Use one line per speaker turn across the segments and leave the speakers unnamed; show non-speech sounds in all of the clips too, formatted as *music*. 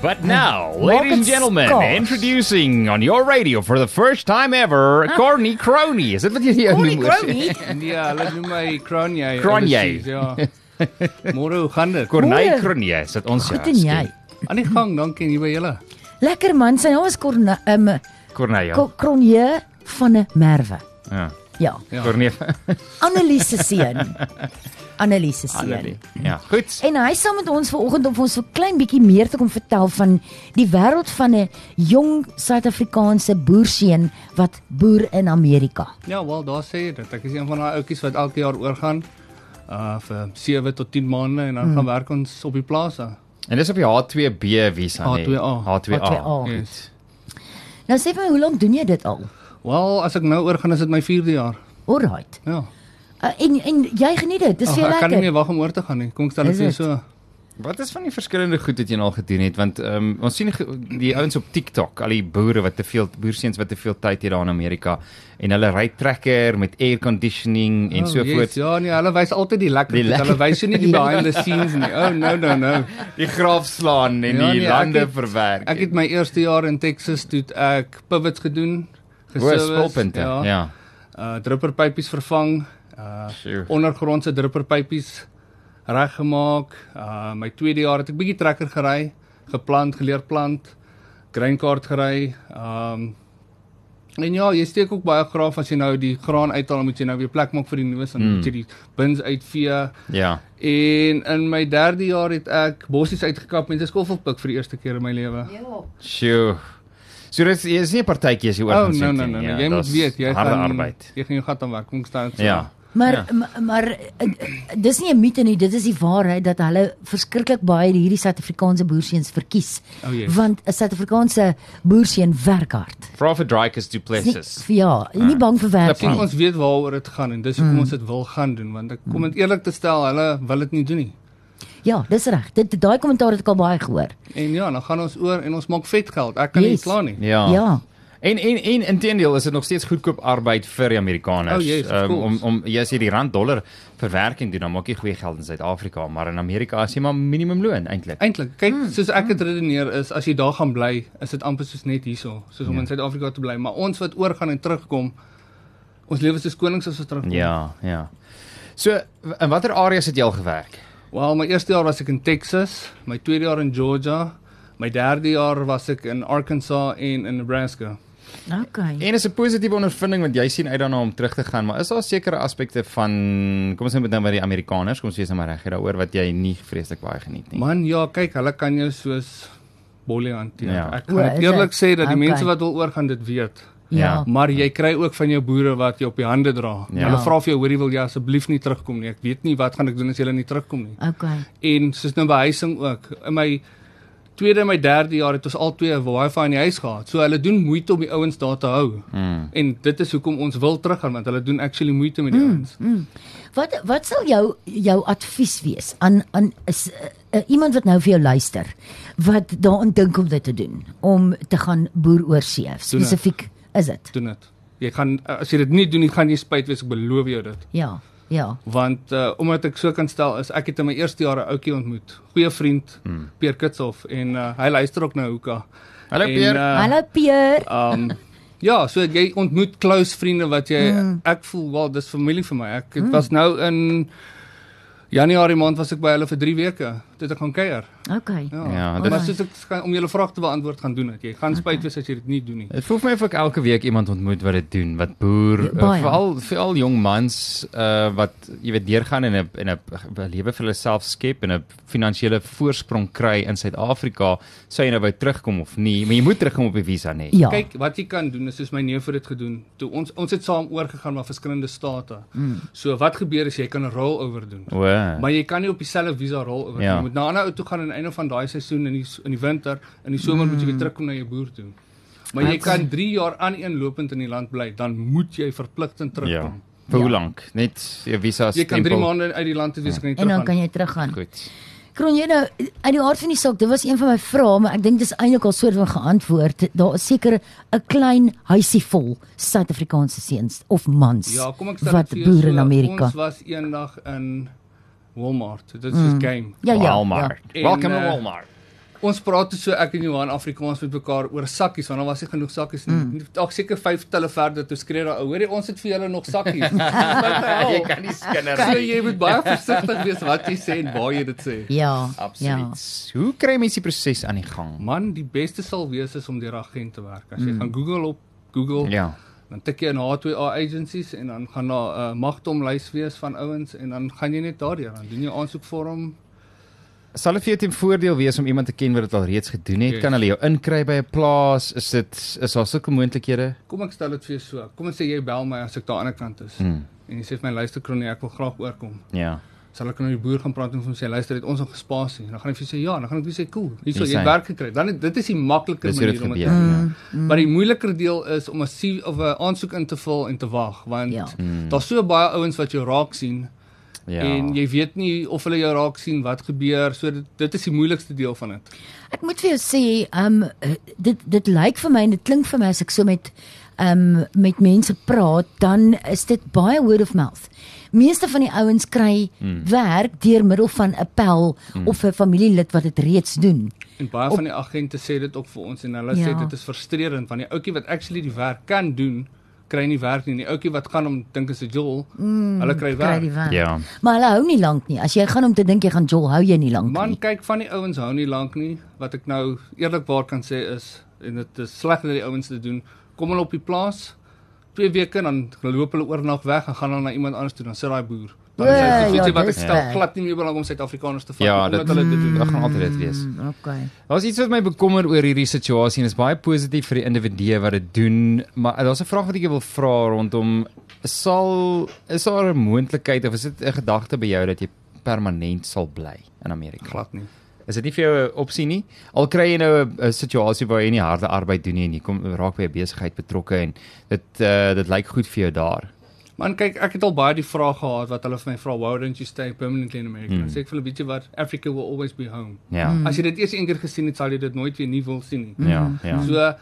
But now, ladies and gentlemen,
Scotch.
introducing on your radio for the first time ever,
Ah.
Corny Crony. Is it what you hear in
Corny
English?
Crony?
Ja, hulle noem my Kronje.
Kronje.
presies, Ja.
*laughs*
Môre hoe gaan dit?
*laughs* Corny
Goeie.
Crony, is dit
Ja,
ons ja,
Goed en jy?
Aan die gang, dankie hier by julle.
Lekker man, sy naam is Corne um,
Corny, ja.
Ko- Cronje van 'n Merwe.
ja.
Ja.
*laughs* Ja.
Corny. *laughs*
Annelies se seun. Annelies se
Annelie.
seun.
Ja, goed.
En hy sal met ons vanoggend om vir ons so klein bietjie meer te kom vertel van die wêreld van 'n jong Suid-Afrikaanse boerseun wat boer in Amerika.
Ja, wel daar sê jy dit. Ek is een van daai ouetjies wat elke jaar oorgaan uh vir 7 tot 10 maande
Hmm.
en dan mm. gaan werk ons op die plase.
En dis op die H2B visa, nee.
H2A.
H2A.
H2A.
Goed.
Yes.
Nou sê vir my, hoe lank doen jy dit al?
Wel, as ek nou oorgaan is dit my 4de jaar.
Alraight.
Ja.
Uh, en en jy geniet dit. Dis
Ag,
vir jou
ek kan nie meer
lekker.
wag om oor te gaan nie. Kom ek stel
Is
dit vir jou
dit?
so.
Wat is van die verskillende goed wat jy nou al gedoen het want ehm um, ons sien die- die ouens op TikTok al die boere wat te veel boerseuns wat te veel tyd het daar in Amerika en hulle ry trekker met air conditioning en oh, so
yes,
voort.
Ja, nee, hulle wys altyd die lekker.
Die
goed. Hulle
lekker-
wys jou nie die behind the scenes nie. Oh, no, no, no.
*laughs* Die graaf slaan en
Ja,
die
nee, ek
lande
het-
verwerk.
Ek het my eerste jaar in Texas toe het ek pivots gedoen,
hoë
geservice,
spulpunte. Ja. ja.
Uh dripperpypies vervang, uh
Sjoe.
ondergrondse dripperpypies reggemaak. Uh my tweede jaar het ek bietjie trekker gery, geplant, geleer plant, grain cart gery. Um en ja, jy steek ook baie graaf as jy nou die graan uithaal, moet jy nou weer plek maak vir die nuwe, dan
Hmm.
moet jy die bins uitvee.
Ja.
En in my derde jaar het ek bossies uitgekap met 'n skoffelpik vir die eerste keer in my lewe.
Ja.
Sjoe. So dit is- dit is nie 'n partytjie as jy oor
Oh,
gaan
no
sit
no
nie.
no,
Ja,
no. jy moet
dis
weet, jy
harde
gaan
arbeid.
Jy gaan jou gat aan werk, kom staan. so.
Ja.
Maar
Ja.
ja. maar eh, dis nie 'n mite nie, dit is die waarheid dat hulle verskriklik baie hierdie Suid-Afrikaanse boerseuns verkies.
O, yes.
Want 'n Suid-Afrikaanse boerseun werk hard.
Vra vir Dreykus Du
Dis
Plessis.
Nie, ja, nie bang vir werk
En
nie.
ons weet waaroor dit gaan en dis hoekom mm. ons dit wil gaan doen want ek
Hmm.
kom dit eerlik te stel, hulle wil dit nie doen nie.
Ja, dis reg. Dit daai kommentaar het ek al baie gehoor.
En ja, dan gaan ons oor en ons maak vet geld. Ek kan
Yes.
nie kla nie.
Ja.
Ja.
En en en inteendeel is dit nog steeds goedkoop arbeid vir die Amerikaners.
Oh, yes, of
um,
course.
om om jy sê die rand dollar verwerking doen, dan maak jy goeie geld in Suid-Afrika, maar in Amerika is jy maar minimumloon eintlik.
Eintlik, kyk,
Hmm.
mm. soos ek dit redeneer is as jy daar gaan bly, is dit amper soos net hierso, soos
Ja.
om in Suid-Afrika te bly, maar ons wat oor gaan en terugkom, ons lewe soos konings as ons terugkom.
Ja, ja. So w- in watter areas het jy al gewerk?
Wel, my eerste jaar was ek in Texas, my tweede jaar in Georgia, my derde jaar was ek in Arkansas en in Nebraska.
Okay.
En is 'n positiewe ondervinding want jy sien uit daarna om terug te gaan, maar is daar sekere aspekte van kom ons net met nou by die Amerikaners, kom ons wees nou maar reg hier daaroor wat jy nie vreeslik baie geniet nie.
Man, ja, kyk, hulle kan jou soos bolle hanteer.
Ja.
Ja. Ek
O,
kan
is
dit eerlik
dit? Ah,
sê dat die
Okay.
okay. mense wat wil oorgaan dit weet.
Ja.
ja.
Maar jy kry ook van jou boere wat jou op die hande dra.
Ja.
Ja. Hulle vra vir jou, hoorie, wil jy asseblief nie terugkom nie. Ek weet nie wat gaan ek doen as jy nie terugkom nie.
Okay.
En soos nou behuising ook. In my tweede en my derde jaar het ons al twee wifi in die huis gehad. So hulle doen moeite om die ouens daar te hou. Mm.
Hmm.
En dit is hoekom ons wil teruggaan want hulle doen actually moeite met die
Hmm.
mm. ouens.
Wat wat sal jou jou advies wees aan aan is uh, uh, iemand wat nou vir jou luister wat daaraan dink om dit te doen om te gaan boer oorsee spesifiek is dit?
Doen dit. Jy gaan as jy dit nie doen nie, gaan jy spyt wees, ek beloof jou dit.
Ja. Ja.
want uh, omdat ek so kan stel is ek het in my eerste jaar 'n ouetjie ontmoet, goeie vriend hmm. Peer Kitshof en uh, hy luister ook nou Hoeka.
Hallo,
En,
Peer.
Uh,
Hallo Pier.
Um *laughs* ja, so jy ontmoet close vriende wat jy mm. ek voel wel dis familie vir my. Ek mm. was nou in Januarie maand was ek by hulle vir 3 weke. Dit ek gaan kuier.
Okay.
Ja.
Ja,
ja
dit-
maar soos ek ska- om julle vraag te beantwoord gaan doen dit. Jy gaan spyt wees as jy dit nie doen nie.
Dit voel vir my of ek elke week iemand ontmoet wat dit doen, wat boer,
Ja,
uh,
baie.
veral veral jong mans uh wat jy weet deurgaan en 'n en 'n b- lewe vir hulle self skep en 'n finansiële voorsprong kry in Suid-Afrika, sou jy nou wou terugkom of nie, maar jy moet terugkom op die visa nee. nê.
Ja.
Kyk, wat jy kan doen is soos my neef het dit gedoen. Toe ons ons het saam oorgegaan na verskillende state. Mm. So wat gebeur is jy kan 'n rollover doen.
O.
Maar jy kan nie op dieselfde visa rol oor.
Ja.
Ja. Jy moet na 'n ander ou toe gaan aan die einde van daai seisoen in die s- in die winter, in die somer mm. moet jy weer terugkom na jou boer toe. Maar jy kan 3 jaar aaneenlopend in die land bly, dan moet jy verpligtend
Ja.
terugkom.
Vir hoe lank? Net jou visa
Ja. Jy kan 3
stempel.
maande uit die land uit wees ja. kan jy
En dan
teruggaan.
kan jy teruggaan.
Goed.
Kron jy nou uit die aard van die saak, dit was een van my vrae, maar ek dink dis eintlik al soort van geantwoord. Daar is seker 'n klein huisie vol Suid-Afrikaanse seuns of mans
Ja, kom ek stel
wat
dit vir jou
boer
so,
in Amerika.
Ons was eendag in Walmart. Dit is 'n mm. game.
Ja ja.
Walmart.
ja.
En,
Welcome to
eh,
Walmart.
Ons praat toe so ek en Johan Afrikaans met mekaar oor sakkies want daar was nie genoeg sakkies nie. Mm. Dalk seker 5 telle verder toe skree daar ou, hoorie ons het vir julle nog sakkies.
*laughs* jy
jy
kan nie skinder
so
nie.
jy moet baie versigtig wees wat jy sê en waar jy dit sê.
Ja. Ja.
Absoluut. Ja. Hoe kry mense die proses aan die gang?
Man, die beste sal wees is om deur 'n agent te werk. As jy mm. gaan Google op Google,
Ja.
dan tik jy in H2A agencies en dan gaan daar 'n uh, magtom lys wees van ouens en dan gaan jy net daardeur dan doen jy aansoekvorm.
Sal dit vir jou ten voordeel wees om iemand te ken wat dit al reeds gedoen het?
Yes.
Kan hulle jou inkry by 'n plaas? Is dit is daar sulke moontlikhede?
Kom ek stel dit vir jou so. Kom ons sê jy bel my as ek daar aan die ander kant is.
Mm.
En jy sê vir my luister Kronie, ek wil graag oorkom.
Ja.
Sal ek nou die boer gaan praat en vir hom sê luister, het ons nog gespasie. En Dan gaan hy vir jou sê ja, dan gaan ek vir jou sê cool. Hierso
Hier
jy
is
het
hy.
werk gekry. Dan dit is die makliker
Dis hoe
manier
dit
om
gebeur.
dit. te-
Ja.
Maar die moeiliker deel is om 'n CV of 'n aansoek in te vul en te wag want
Ja.
ja. daar's so baie ouens wat jou raak sien
Mm. ja.
en jy weet nie of hulle jou raak sien wat gebeur so dit, dit is die moeilikste deel van dit.
Ek moet vir jou sê, ehm um, dit dit lyk vir my en dit klink vir my as ek so met ehm um, met mense praat, dan is dit baie word of mouth. Meeste van die ouens kry mm. werk deur middel van 'n pel mm. of 'n familielid wat dit reeds doen.
En baie van die agente sê dit ook vir ons en hulle
Ja.
sê dit is frustrerend want die ouetjie wat actually die werk kan doen kry nie werk nie en die ouetjie wat gaan om dink is 'n jol mm, hulle kry
Kry
werk.
die werk.
Ja.
Maar hulle hou nie lank nie. As jy gaan om te dink jy gaan jol, hou jy nie lank
Man
nie.
kyk van die ouens hou nie lank nie. Wat ek nou eerlikwaar kan sê is en dit is sleg dat die ouens dit doen. Kom hulle op die plaas 2 weke en dan loop hulle oornag weg en gaan hulle na iemand anders toe dan sit daai boer. Dan
Ja,
is hy
ja,
gevoel wat
dis
ek stel
reg.
glad nie meer belang om Suid-Afrikaners te vat
Ja,
nie,
dit
omdat hulle dit doen.
Dit gaan altyd dit wees.
Mm, okay.
Daar's iets wat my bekommer oor hierdie situasie en is baie positief vir die individue wat dit doen, maar daar's 'n vraag wat ek jou wil vra rondom sal is daar 'n moontlikheid of is dit 'n gedagte by jou dat jy permanent sal bly in Amerika?
glad nie.
Is dit nie vir jou 'n opsie nie? Al kry jy nou 'n- 'n situasie waar jy nie harde arbeid doen nie en jy kom raak by 'n besigheid betrokke en dit uh, dit lyk goed vir jou daar.
Man kyk, ek het al baie die vraag gehad wat hulle vir my vra, "Why don't you stay permanently in America?"
Hmm.
Mm. Sê ek vir hulle bietjie wat Africa will always be home.
Ja.
Hmm.
As jy dit eers een keer gesien het, sal jy dit nooit weer nie wil sien nie.
Ja, ja.
So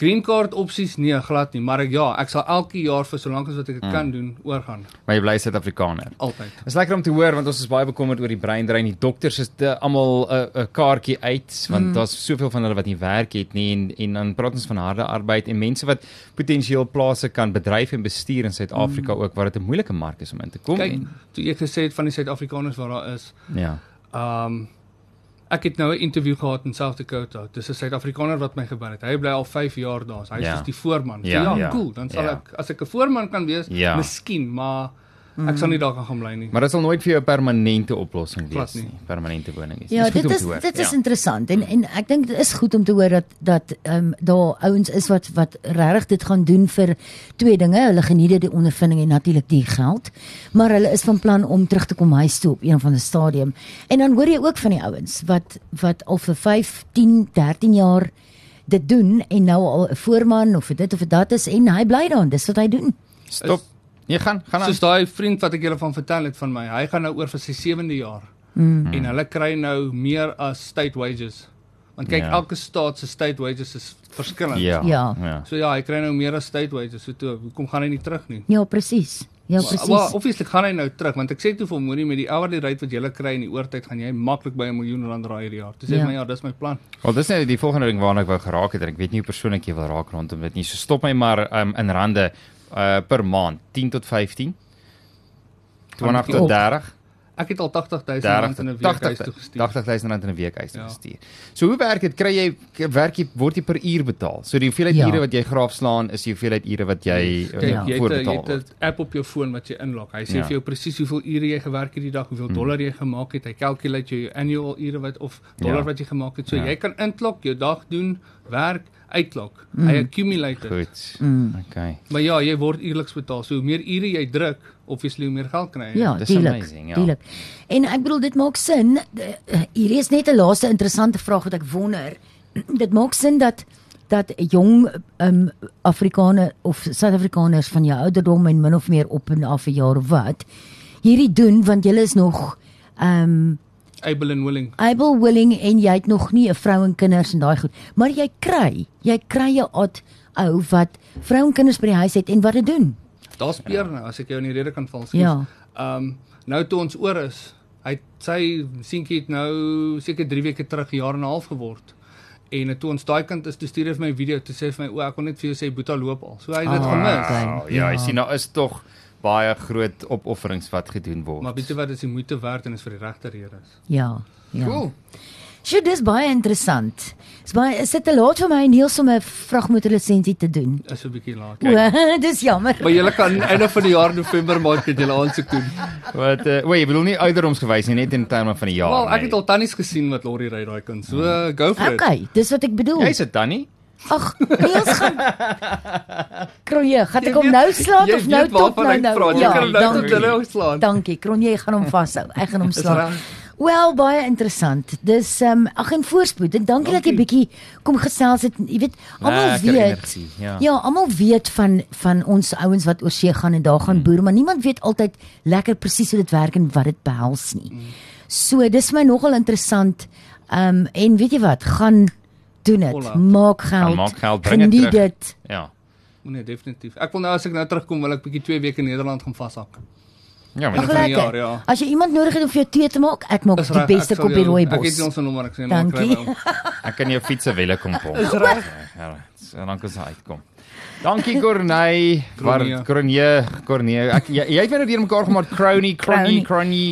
green card opsies nee glad nie, maar ek, ja, ek sal elke jaar vir solank as wat
Mm.
ek dit kan doen oorgaan,
Maar jy bly Suid-Afrikaner.
altyd.
Dit is lekker om te hoor want ons is baie bekommerd oor die breindrein. Die dokters is te- almal 'n uh, kaartjie uit want mm. daar's soveel van hulle wat nie werk het nie en en dan praat ons van harde arbeid en mense wat potensieel plase kan bedryf en bestuur in Suid-Afrika mm. ook waar dit 'n moeilike mark is om in te kom.
Kyk,
en,
toe jy gesê het van die Suid-Afrikaners wat daar is,
ja.
ehm um, ek het nou 'n onderhoud gehad in South Dakota. Dis 'n Suid-Afrikaner wat my gebel het. Hy bly al 5 jaar daar. Hy
Ja.
is die voorman. So,
Ja,
ja,
ja.
ja, ja, cool. Dan sal
Ja.
ja. ek as ek 'n voorman kan wees,
Ja.
ja. miskien, maar ek sal nie daar kan gaan bly nie.
Maar dit sal nooit vir jou 'n permanente oplossing
Glad
wees nie.
nie.
Permanente woning is.
Ja,
goed
dit
om
is
te hoor.
dit is
ja.
interessant en en ek dink dit is goed om te hoor dat dat ehm um, daar ouens is wat wat regtig dit gaan doen vir twee dinge. Hulle geniet dit, die ondervinding en natuurlik die geld, maar hulle is van plan om terug te kom huis toe op een van die stadium. En dan hoor jy ook van die ouens wat wat al vir 5, 10, 13 jaar dit doen en nou al 'n voorman of dit of dat is en hy bly daarin. Dis wat hy doen.
Stop. Jy gaan gaan aan.
Soos daai vriend wat ek julle van vertel het van my, hy gaan nou oor vir sy 7de jaar. Mm. En hulle kry nou meer as state wages. Want kyk,
Ja.
ja. elke staat se state wages is verskillend.
Ja.
Ja.
ja.
So ja, hy kry nou meer as state wages. So toe, hoekom gaan hy nie terug nie?
Ja, presies. Ja,
Wel,
presies.
obviously gaan hy nou terug want ek sê toe vir hom moenie met die hourly rate wat jy kry in die oortyd gaan jy maklik by 'n miljoen rand raai hierdie jaar. Dis sê
Ja.
ja. my ja, dis my plan.
Wel dis nou die volgende ding waarna ek wou geraak het en ek weet nie hoe persoonlik jy wil raak rondom dit nie. So stop my maar um, in rande uh per maand 10 tot 15 20 tot
Op.
30
Ek het al 80000
30
rand in 'n
tot
week huis toe
80
gestuur.
80000 rand in 'n week huis toe
Ja.
gestuur. So hoe werk dit? Kry jy werk jy word jy per uur betaal. So die hoeveelheid
Ja.
ure wat jy graaf slaan is die hoeveelheid ure wat jy
Kyk,
uh,
Ja.
ja, jy het 'n- jy
voorbetaal
het
word.
'n app op jou foon wat jy inlog. Hy
Ja.
sê
Mhm.
ja. vir jou presies hoeveel ure jy gewerk het die dag, hoeveel dollar jy gemaak het. Hy calculate jou annual ure wat of dollar
Ja.
ja. wat jy gemaak het. So
Ja.
ja. jy kan inklok, jou dag doen, werk, uitklok. Mm.
Mhm.
Hy accumulate dit.
Goed. Okay.
Maar ja, jy word uierliks betaal. So hoe meer ure jy druk, obviously hoe meer geld kry jy.
Ja,
Dis
tuurlik.
amazing, ja.
Tuurlijk. En ek bedoel dit maak sin. De- eh, Hier is net 'n laaste interessante vraag wat ek wonder. *clears throat* Dit maak sin dat dat jong um, Afrikaners of Suid-Afrikaners van jou ouderdom en min of meer op en af 'n jaar of wat hierdie doen want jy is nog um
Able and willing.
able willing en jy het nog nie 'n vrou en kinders en daai goed. Maar jy kry, jy kry jou oud ou wat vrou en kinders by die huis het en wat dit doen.
Daar's peer nou as ek jou in die rede kan val. skus.
Ja.
Ehm um, nou toe ons oor is, Hy het- sy seentjie het nou seker 3 weke terug 'n jaar en 'n half geword. En toe ons daai kant is, toe stuur hy vir my 'n video toe sê hy vir my, "O, ek kon net vir jou sê Boeta loop al." So hy het dit
Ah,
gemis.
okay.
Wow, ja, jy sien daar is tog baie groot opofferings wat gedoen word.
Maar weet jy wat, dit is die moeite werd en is vir die regte redes.
Ja. Ja.
Cool.
Sjoe, dis baie interessant. Dis baie is dit te laat vir my en Niels om 'n vragmotorlisensie te doen.
Is so 'n bietjie laat.
O, *laughs* dis jammer.
Maar julle kan einde van die jaar November maand met julle aansoek doen.
Wat uh, wait, jy bedoel nie ouderdomsgewys nie, net in terme van die jaar.
Wel, ek het
nee.
al tannies gesien wat lorry ry daai kind. So uh, go for it.
Okay, dis wat ek bedoel.
Jy's 'n tannie.
Ag, Niels
*laughs*
gaan Kronje, gaan
Jy
ek hom
weet-
nou slaat
jy
of nou
weet
top
waarvan
nou
ek
nou?
praat. Jy kan hom nou tot
dankie.
hulle ontslaan.
Dankie, Kronje, ek gaan
*laughs*
hom vashou. Ek gaan hom
Dis
slaap.
reg.
Wel baie interessant. Dis ehm um, ag en voorspoed. En dankie, dankie dat jy bietjie kom gesels het. Jy weet, almal
Lekker
weet.
energie, ja.
ja almal weet van van ons ouens wat oor see gaan en daar
Mm.
gaan boer, maar niemand weet altyd lekker presies hoe dit werk en wat dit behels nie.
Mm.
So dis my nogal interessant. Ehm um, en weet jy wat, gaan doen dit.
Volhou.
Maak geld.
maak geld, bring dit
geniet
terug.
dit.
Ja.
O nee, definitief. Ek wil nou as ek nou terugkom, wil ek bietjie 2 weke in Nederland gaan vashak.
Ja, maar
Ag
Einde van die
lekker.
jaar, ja.
As jy iemand nodig het om vir jou tee te maak, ek maak
Dis
die
reg,
beste
ek sal
koppie
jou-
rooi
Ek het
bos.
nie ons nommer, ek sê nou maar kry
Dankie.
my om.
ek kan jou fiets se wiele kom pomp.
Dis reg.
Ja, solank as hy uitkom. Dankie Corney, waar
Corneille.
Corney, Corney. Ek jy, jy het my nou weer mekaar gemaak Crony, Crony,
Crony.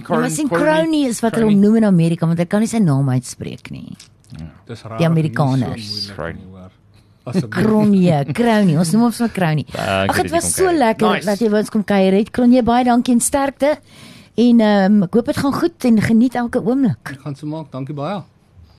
Crony,
Ja, maar sien Crony is wat hulle hom noem in Amerika want hy kan nie sy naam uitspreek nie.
Dis raar.
Die Amerikaners.
Asseblief.
Crony, Crony, ja, ons noem hom sommer Crony.
Dankie
Ag
dat jy
dit was
kom
so
kuier.
lekker
Nice.
dat jy by ons kom kuier het. Crony, baie dankie en sterkte. En ehm um, ek hoop dit gaan goed en geniet elke oomblik.
Ek gaan se maak. Dankie baie.